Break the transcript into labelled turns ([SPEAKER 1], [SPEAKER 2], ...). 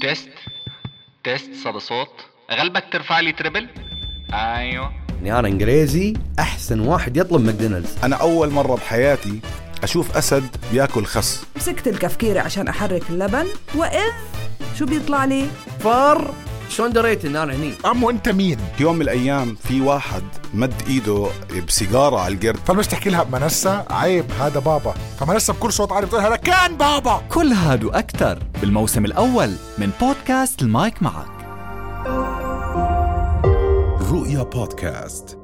[SPEAKER 1] تيست تيست صدى غالبك ترفع لي تريبل ايوه
[SPEAKER 2] يعني انا انجليزي احسن واحد يطلب ماكدونالدز
[SPEAKER 3] أنا أول مرة بحياتي أشوف أسد بياكل خس
[SPEAKER 4] مسكت الكفكيرة عشان أحرك اللبن وإذ شو بيطلع لي؟
[SPEAKER 2] فار شلون دريت ان انا هني؟
[SPEAKER 5] عمو انت مين؟
[SPEAKER 3] في يوم من الأيام في واحد مد إيده بسيجارة على القرد
[SPEAKER 5] فليش تحكي لها بمنسة عيب هذا بابا فمنسة بكل صوت عالي بتقول هذا كان بابا
[SPEAKER 6] كل هاد وأكثر بالموسم الأول من بودكاست المايك معك
[SPEAKER 7] رؤيا بودكاست